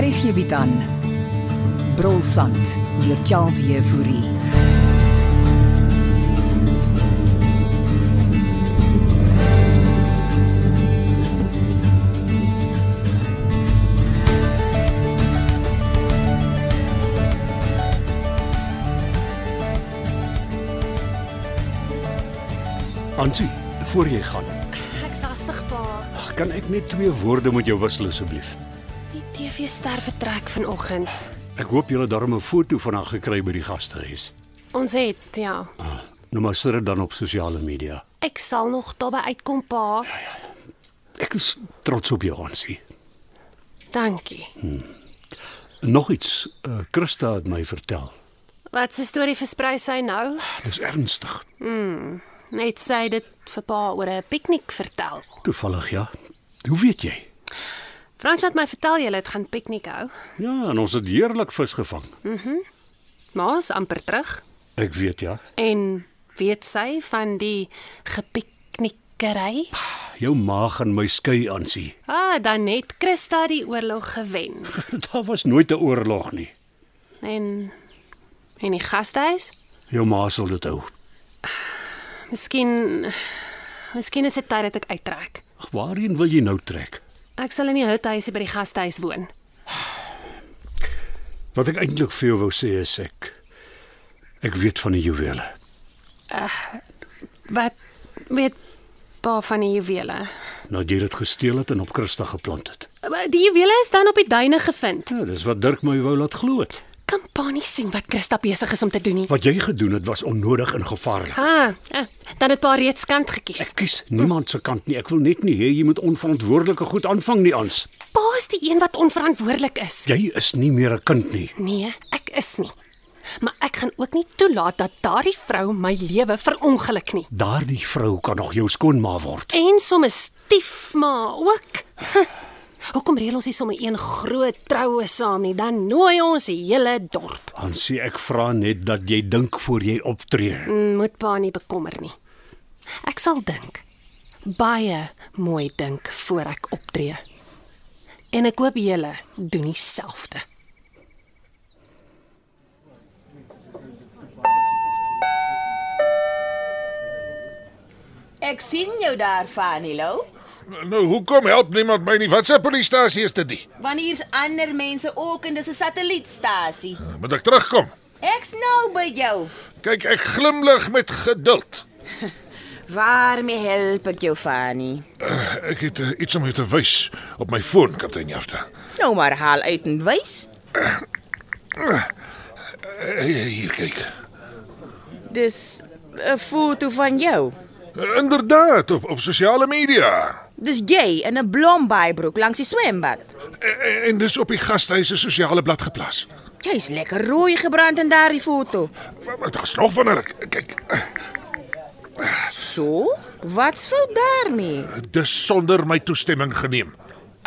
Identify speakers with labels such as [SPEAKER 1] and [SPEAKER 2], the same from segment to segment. [SPEAKER 1] Hier is hierby dan. Brolsand deur Charles Euphorie.
[SPEAKER 2] Ansie, voor jy gaan,
[SPEAKER 3] Ek's hastig pa.
[SPEAKER 2] kan ek net twee woorde met jou wissel asseblief?
[SPEAKER 3] Die TV ster vertrek vanoggend.
[SPEAKER 2] Ek hoop julle het darm 'n foto van haar gekry by die gastehuis.
[SPEAKER 3] Ons het ja.
[SPEAKER 2] Ah, nou maar sit dit dan op sosiale media.
[SPEAKER 3] Ek sal nog daarby uitkom pa.
[SPEAKER 2] Ek is trots op jou, Ansie.
[SPEAKER 3] Dankie.
[SPEAKER 2] Nog iets, uh, Christa het my vertel.
[SPEAKER 3] Wat 'n storie versprei sy nou?
[SPEAKER 2] Dis ernstig.
[SPEAKER 3] Net sy dit vir pa oor 'n piknik vertel.
[SPEAKER 2] Toevallig ja. Hoe weet jy?
[SPEAKER 3] Frans het my vertel julle het gaan piknik hou.
[SPEAKER 2] Ja, en ons het heerlik vis gevang.
[SPEAKER 3] Ma's amper terug
[SPEAKER 2] Ek weet ja.
[SPEAKER 3] en weet sy van die gepiknikery?
[SPEAKER 2] Jou maag en my skei, Ansie.
[SPEAKER 3] Ah, dan net Christa die oorlog gewen.
[SPEAKER 2] Daar was nooit 'n oorlog nie.
[SPEAKER 3] En en die gastehuis?
[SPEAKER 2] Jou ma sal dit hou.
[SPEAKER 3] Miskien Miskien is dit tyd dat ek uittrek.
[SPEAKER 2] Ag, Waarheen wil jy nou trek?
[SPEAKER 3] Ek sal in die huthuisie by die gastehuis woon.
[SPEAKER 2] Wat ek eintlik vir jou wou sê is ek ek weet van die juwele.
[SPEAKER 3] Wat weet pa van die juwele?
[SPEAKER 2] Nadat jy dit gesteel het en op Christa geplant het.
[SPEAKER 3] Maar Die juwele is dan op die duine gevind.
[SPEAKER 2] Ja, dis wat Dirk my wou laat glo het.
[SPEAKER 3] Kan pa nie sien wat Christa besig is om te doen nie.
[SPEAKER 2] Wat jy gedoen het was onnodig en gevaarlik.
[SPEAKER 3] Ah, eh, dan het pa reeds kant gekies.
[SPEAKER 2] Ek kies niemand se kant nie. Ek wil net nie hê jy moet onverantwoordelike goed aanvang nie, Ans.
[SPEAKER 3] Pa is die een wat onverantwoordelik is.
[SPEAKER 2] Jy is nie meer 'n kind nie.
[SPEAKER 3] Nee, ek is nie. Maar ek gaan ook nie toelaat dat daardie vrou my lewe verongeluk nie.
[SPEAKER 2] Daardie vrou kan nog jou skoonma word.
[SPEAKER 3] En somme stiefma ook. Huh. Hoekom reël ons nie sommer een groot troue saam nie? Dan nooi ons die hele dorp.
[SPEAKER 2] Ansie, ek vra net dat jy dink voor jy optree.
[SPEAKER 3] Mm, Moet pa nie bekommer nie. Ek sal dink. Baie mooi dink voor ek optree. En ek hoop julle doen dieselfde.
[SPEAKER 4] Ek sien jou daar, Fanilo.
[SPEAKER 5] Nou hoekom help niemand my nie? Wat se polisiestasie is dit? die?
[SPEAKER 4] Wanneer's ander mense ook en dis 'n satellietstasie.
[SPEAKER 5] Moet ek terugkom?
[SPEAKER 4] Ek's nou by jou.
[SPEAKER 5] Kyk, ek glimlag met geduld.
[SPEAKER 4] Waarmee help ek jou, Fanny?
[SPEAKER 5] Ek het uh, iets om jou te wys op my foon, kaptein Jafta.
[SPEAKER 4] Nou maar haal uit en wys.
[SPEAKER 5] Uh, hier kyk.
[SPEAKER 4] Dis 'n foto van jou.
[SPEAKER 5] Uh, inderdaad, op op sosiale media.
[SPEAKER 4] Dis jy in 'n blombaaibroek langs die swembad.
[SPEAKER 5] Eh, En, en dis op die gastehuis se sosiale blad geplaas.
[SPEAKER 4] Jy's lekker rooi gebrand in daardie foto.
[SPEAKER 5] Maar maar daar's nog van hulle. Kyk, uh,
[SPEAKER 4] So? Wat's fout daarmee?
[SPEAKER 5] dis sonder my toestemming geneem.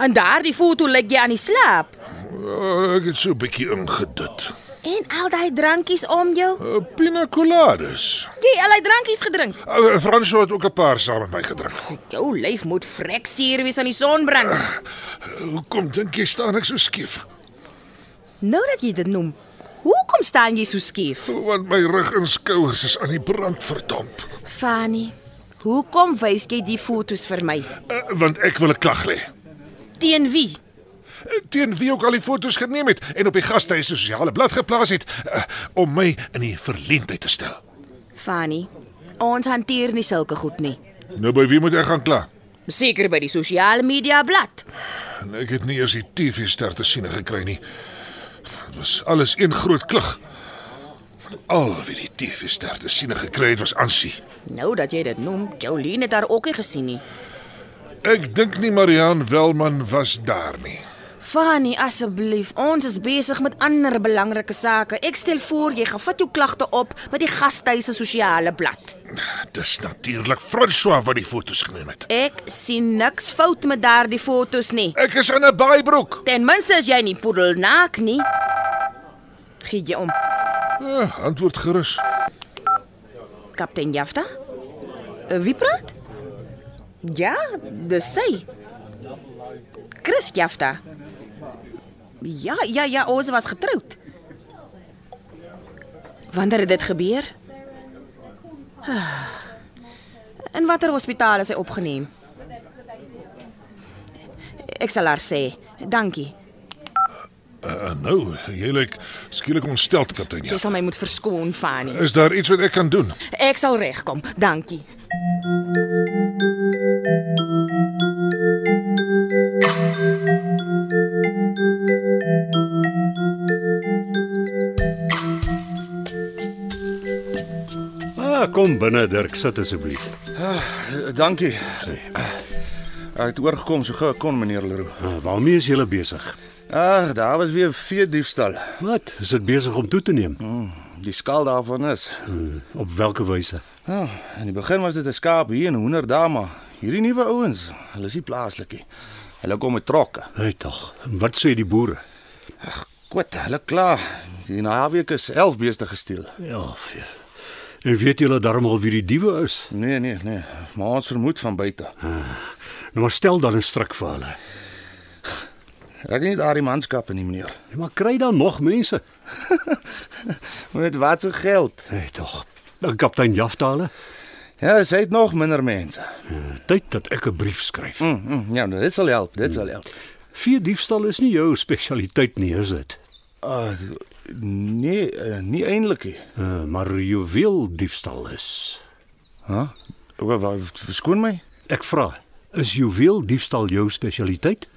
[SPEAKER 4] In daardie foto lyk jy aan die slaap.
[SPEAKER 5] Uh, ek het so 'n bietjie ingedut.
[SPEAKER 4] En al daai drankies om jou.
[SPEAKER 5] Uh, Pina coladas.
[SPEAKER 4] Jy al daai drankies gedrink.
[SPEAKER 5] Uh, Fransjo het ook 'n paar saam met my gedrink.
[SPEAKER 4] Jou lyf moet freksuur wees aan die sonbrand.
[SPEAKER 5] Hoekom dink jy staan ek so skief?
[SPEAKER 4] Nou dat jy dit noem. Hoekom staan jy so skief?
[SPEAKER 5] Want my rug en skouers is aan die brand verdamp.
[SPEAKER 4] Fanny, hoekom wys jy die fotos vir my?
[SPEAKER 5] Uh, want ek wil 'n klag lê.
[SPEAKER 4] Teen wie?
[SPEAKER 5] Uh, Teen wie ook al die foto's geneem het en op die gastehuis se sosiale blad geplaas het uh, om my in die verleentheid te stel.
[SPEAKER 4] Fanny, ons hanteer nie sulke goed nie.
[SPEAKER 5] Nou by wie moet ek gaan kla?
[SPEAKER 4] Seker by die sosiale media blad.
[SPEAKER 5] En ek het nie eers die TV-ster te sien gekry nie. Dit was alles een groot klug. Al wie die TV-ster te sien gekry het was Ansie.
[SPEAKER 4] Nou dat jy dit noem, Jolene het haar ook nie gesien nie.
[SPEAKER 5] Ek dink nie Marian Welman was daar nie.
[SPEAKER 4] Fanny, asseblief, ons is besig met ander belangrike sake. Ek stel voor jy gaan vat jou klagte op met die gastehuis se sosiale blad.
[SPEAKER 5] Dis natuurlik François wat die foto's geneem het.
[SPEAKER 4] Ek sien niks fout met daardie fotos nie.
[SPEAKER 5] Ek is in 'n baaibroek.
[SPEAKER 4] Ten minste is jy nie poedelnaak nie. Gee jy om,
[SPEAKER 5] Eh, antwoord gerus.
[SPEAKER 4] kaptein Jafta? Eh, Wie praat? Ja, dis sy. Chris Jafta. Ja, ja, ja, ons was getroud. Wanneer het dit gebeur? Ah. In watter hospitaal is hy opgeneem? Ek sal haar sê. Dankie.
[SPEAKER 5] Uh, nou, jy lyk skielik ontstel, kaptein.
[SPEAKER 4] Jy
[SPEAKER 5] Ja.
[SPEAKER 4] sal my moet verskoon, Fanny.
[SPEAKER 5] Is daar iets wat ek kan doen?
[SPEAKER 4] Ek sal regkom. Dankie.
[SPEAKER 2] Ah, kom binne Dirk, sit asseblief.
[SPEAKER 6] Eh, Dankie. Ek het oorgekom so gou ek kon meneer Leroux.
[SPEAKER 2] Ah, waarmee is jy besig?
[SPEAKER 6] Ag, daar was weer veediefstal.
[SPEAKER 2] Wat? Is dit besig om toe te neem?
[SPEAKER 6] Ja. Die skaal daarvan is.
[SPEAKER 2] Op watter wyse?
[SPEAKER 6] Ja, in die begin was dit 'n skaap hier en 100 daar maar hierdie nuwe ouens, hulle is nie plaaslik nie. Hulle kom met trokke.
[SPEAKER 2] Hey tog. Wat sê die boere?
[SPEAKER 6] Kwat, hulle kla. Die naweek is 11 beeste gesteel.
[SPEAKER 2] Ja, vir. En weet julle darm al wie die diewe is?
[SPEAKER 6] Nee, nee, nee, maar ons vermoed van buite.
[SPEAKER 2] Nou maar stel dan 'n strik vir hulle.
[SPEAKER 6] Ek het nie daardie manskappe nie, meneer.
[SPEAKER 2] Ja, Maar kry dan nog mense.
[SPEAKER 6] Met wat se geld?
[SPEAKER 2] Hey tog. Dan kaptein Jaftale,
[SPEAKER 6] Ja, sy het nog minder mense.
[SPEAKER 2] tyd dat ek 'n brief skryf.
[SPEAKER 6] Mm, mm, ja, dit sal help, dit sal help.
[SPEAKER 2] Vier diefstal is nie jou spesialiteit nie, is dit?
[SPEAKER 6] Uh, nee, uh, nie eintlik nie.
[SPEAKER 2] Uh, maar juweel diefstal is.
[SPEAKER 6] Hæ? Huh? Wat verskoon my?
[SPEAKER 2] Ek vra, is juweel diefstal jou spesialiteit?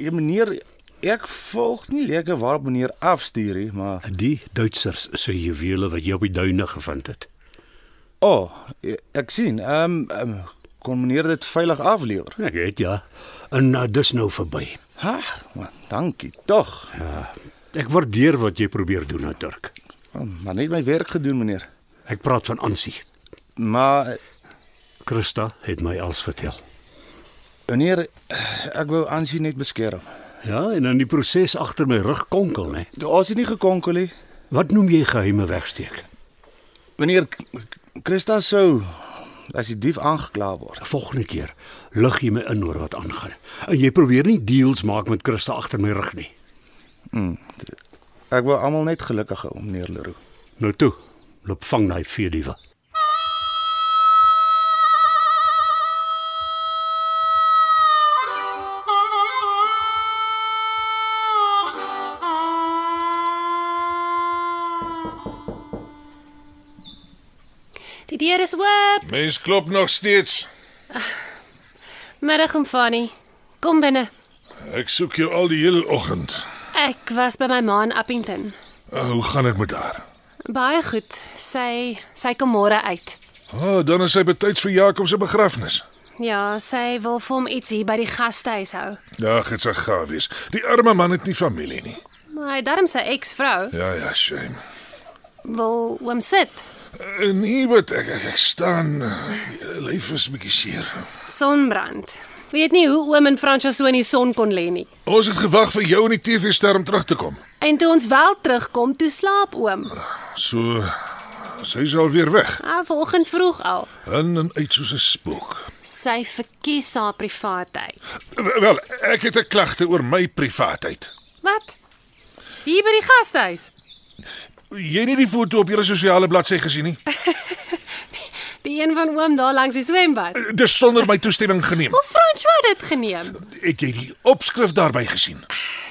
[SPEAKER 6] Ja, meneer, ek volg nie lekker waarop meneer afstuur nie, maar
[SPEAKER 2] Die Duitsers se juwele wat jy op die duine gevind het.
[SPEAKER 6] o, oh, e- ek sien. Ehm um, um, kon meneer dit veilig aflewer?
[SPEAKER 2] Ek weet ja. En uh, dis nou verby.
[SPEAKER 6] Ha, maar dankie tog.
[SPEAKER 2] Ek waardeer wat jy probeer doen, nou, Turk.
[SPEAKER 6] Oh, Maar net my werk gedoen, meneer.
[SPEAKER 2] Ek praat van Ansie.
[SPEAKER 6] Maar eh,
[SPEAKER 2] Christa het my als vertel.
[SPEAKER 6] meneer, ek wou aansien net beskerm.
[SPEAKER 2] Ja, en in die proses agter my rug konkel, hè.
[SPEAKER 6] Ons het nie gekonkel nie.
[SPEAKER 2] Wat noem jy geheime wegsteek?
[SPEAKER 6] Meneer K- K- Christa sou as die dief aangekla word.
[SPEAKER 2] Volgende keer lig jy my in oor wat aangaan. En jy probeer nie deals maak met Christa agter my rug nie.
[SPEAKER 6] Ek wou almal net gelukkig hou, meneer Leroux.
[SPEAKER 2] Nou toe, loop vang daai veediewe.
[SPEAKER 3] Die deur is oop.
[SPEAKER 5] Mens klop nog steeds.
[SPEAKER 3] Middag om Fanny. Kom binne.
[SPEAKER 5] Ek soek jou al die hele oggend.
[SPEAKER 3] Ek was by my ma in Appington.
[SPEAKER 5] Uh, hoe gaan dit met haar?
[SPEAKER 3] Baie goed. Sy sy kom môre uit.
[SPEAKER 5] Ah, dan is sy betyds vir Jakob se begrafnis.
[SPEAKER 3] Ja, sy wil vir hom iets hier by die gastehuis hou.
[SPEAKER 5] Dag, dit sal gaaf wees. Die arme man het nie familie nie.
[SPEAKER 3] Maar hy darm sy eksvrou
[SPEAKER 5] Ja, ja, shame.
[SPEAKER 3] wil oom sit.
[SPEAKER 5] Uh, nee, wat ek, ek, ek staan. Uh, lyf is 'n bietjie seer.
[SPEAKER 3] Sonbrand. Weet nie hoe oom en Fransjo so in die son kon lê nie.
[SPEAKER 5] Ons het gewag vir jou in die TV-skerm terug te kom.
[SPEAKER 3] En toe ons wel terugkom, toe slaap oom.
[SPEAKER 5] So sy is al weer weg.
[SPEAKER 3] Ah, vanoggend vroeg al.
[SPEAKER 5] In en uit soos 'n spook.
[SPEAKER 3] Sy verkies haar privaatheid.
[SPEAKER 5] W- Wel, ek het 'n klagte oor my privaatheid.
[SPEAKER 3] Wat? Hier by die gastehuis.
[SPEAKER 5] Jy het nie die foto op jou sosiale bladsy gesien nie.
[SPEAKER 3] Die een van oom daar langs die swembad.
[SPEAKER 5] Dis sonder my toestemming geneem.
[SPEAKER 3] Hoe Fransjo het dit geneem?
[SPEAKER 5] Het jy die opskrif daarby gesien?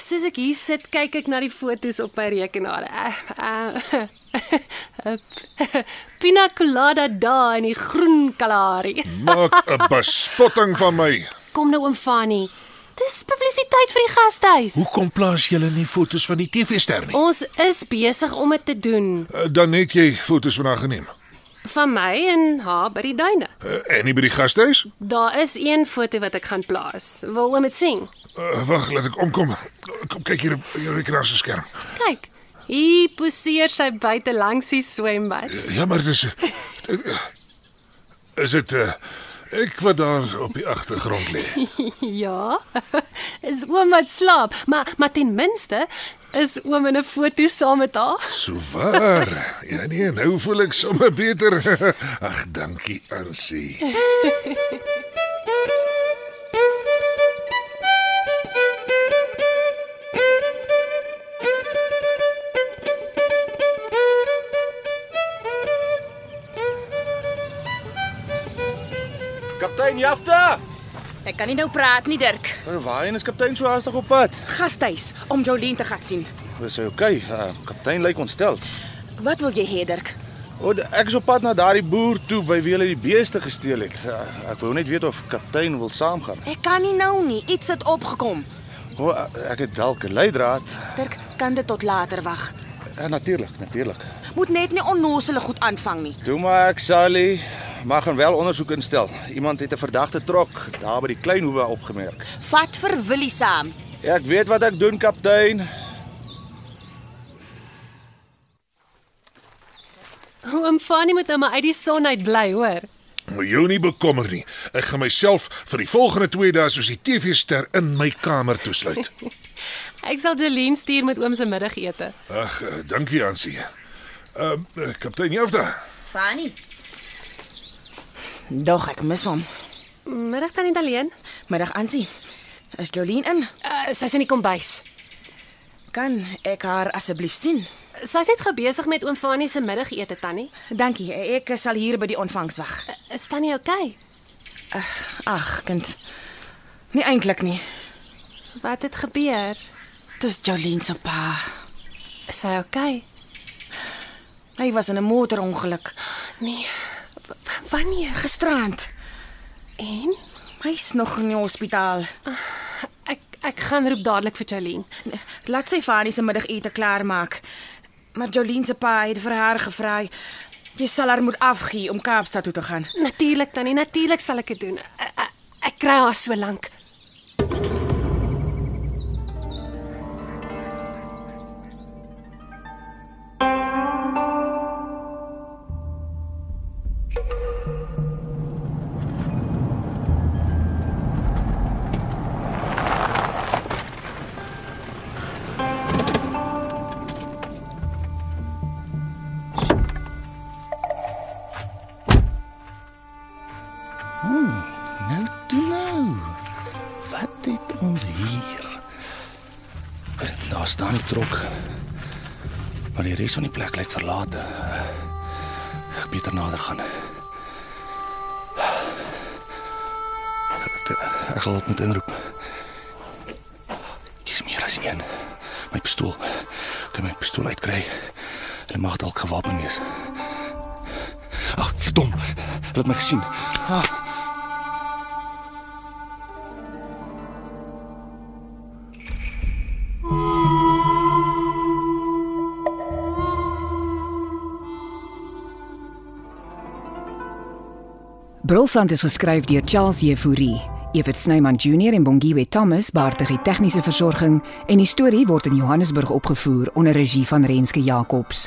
[SPEAKER 3] Soos ek hier sit, kyk ek na die fotos op my rekenaar. Uh, uh, Pina colada daar in die groen Kalahari.
[SPEAKER 5] Maak 'n bespotting van my.
[SPEAKER 3] Kom nou oom Fanny. Dis publisiteit vir die gastehuis.
[SPEAKER 5] Hoekom plaas jy nie foto's van die TV-ster nie?
[SPEAKER 3] Ons is besig om dit te doen.
[SPEAKER 5] Eh, Dan het jy foto's van haar geneem.
[SPEAKER 3] van my en haar by die duine.
[SPEAKER 5] Eh, en nie by die gastehuis?
[SPEAKER 3] Daar is een foto wat ek gaan plaas. Wil oom dit sien?
[SPEAKER 5] Eh, Wag, laat ek omkom. Kom kyk hier op hier op die kras se skerm.
[SPEAKER 3] Kyk. Hier poseer sy buite langs die swembad.
[SPEAKER 5] Eh, Ja, maar dis eh, eh, Is dit eh, ek wat daar op die agtergrond lê?
[SPEAKER 3] Ja. Is oom wat slaap, maar maar ten minste is oom in 'n foto saam met haar.
[SPEAKER 5] So waar. Ja nee, nou voel ek sommer beter. Ag, dankie, Ansie.
[SPEAKER 6] Kaptein Jafta!
[SPEAKER 4] Ek kan nie nou praat nie, Dirk.
[SPEAKER 6] Eh, Waarheen is kaptein so haastig op pad?
[SPEAKER 4] Gasthuis om Jolien te gaan sien.
[SPEAKER 6] Dis okay. Uh, kaptein lyk ontstel.
[SPEAKER 4] Wat wil jy hê, Dirk?
[SPEAKER 6] O, d- ek is op pad na daardie boer toe by wie hulle die beeste gesteel het. Uh, ek wou net weet of kaptein wil saamgaan.
[SPEAKER 4] Ek kan nie nou nie. Iets het opgekom.
[SPEAKER 6] O, eh, ek het dalk 'n leidraad.
[SPEAKER 4] Dirk, kan dit tot later wag.
[SPEAKER 6] Uh, natuurlik, natuurlik.
[SPEAKER 4] Moet net nie onnoosele goed aanvang nie.
[SPEAKER 6] Toe maar ek Sally mag gaan wel ondersoek instel. Iemand het 'n verdagte trok daar by die klein hoewe opgemerk.
[SPEAKER 4] Vat vir Willie saam.
[SPEAKER 6] Ek weet wat ek doen, kaptein.
[SPEAKER 3] Oom Fanie moet nou maar uit die son uit bly, hoor.
[SPEAKER 5] Moet jou nie bekommer nie. Ek gaan myself vir die volgende 2 dae soos die TV-ster in my kamer toesluit.
[SPEAKER 3] Ek sal Jolien stuur met oom se middagete.
[SPEAKER 5] Ag, eh, dankie, Ansie. Ehm uh, kaptein Jafta.
[SPEAKER 4] Fanny. Dog ek mis hom.
[SPEAKER 3] Middag tannie Daleen.
[SPEAKER 4] Middag aansien. Is Jolien in?
[SPEAKER 3] Uh, sy's in die kombuis.
[SPEAKER 4] Kan ek haar asseblief sien?
[SPEAKER 3] Sy's net gebesig met oom Fanie se middagete, tannie.
[SPEAKER 4] Dankie. Ek sal hier by die ontvangs wag.
[SPEAKER 3] Uh, Is tannie oukei? Okay?
[SPEAKER 4] Ag, kind. Nie eintlik nie.
[SPEAKER 3] Wat het gebeur?
[SPEAKER 4] Dis Jolien se pa.
[SPEAKER 3] Is hy oukei? Okay?
[SPEAKER 4] Hy was in 'n motorongeluk
[SPEAKER 3] Nee. W- w- Wanneer?
[SPEAKER 4] gisterand.
[SPEAKER 3] En
[SPEAKER 4] Hy's nog in die hospitaal.
[SPEAKER 3] ek ek gaan roep dadelik vir Jolien.
[SPEAKER 4] Laat sy Fanny se middagete klaarmaak. Maar Jolien se pa het vir haar gevra jy sal haar moet afgee om Kaapstad toe te gaan.
[SPEAKER 3] Natuurlik tannie, natuurlik sal ek dit doen. Ek, ek, ek kry haar so lank.
[SPEAKER 7] Nou toe nou. Wat het ons hier? Daar staan die trok. Maar die res van die plek lyk verlate. Ek beter nader gaan. Ek, ek sal dit moet inroep. Dis meer as een. My pistool. Kan my pistool uitkry. Hulle mag dalk gewapen wees. Ag, verdom. Hulle het my gesien. Ah.
[SPEAKER 1] Brolsand is geskryf deur Charles Jefouri. Evert Snyman Junior en Bongwe Thomas baartig die tegniese versorging en die storie word in Johannesburg opgevoer onder regie van Renske Jacobs.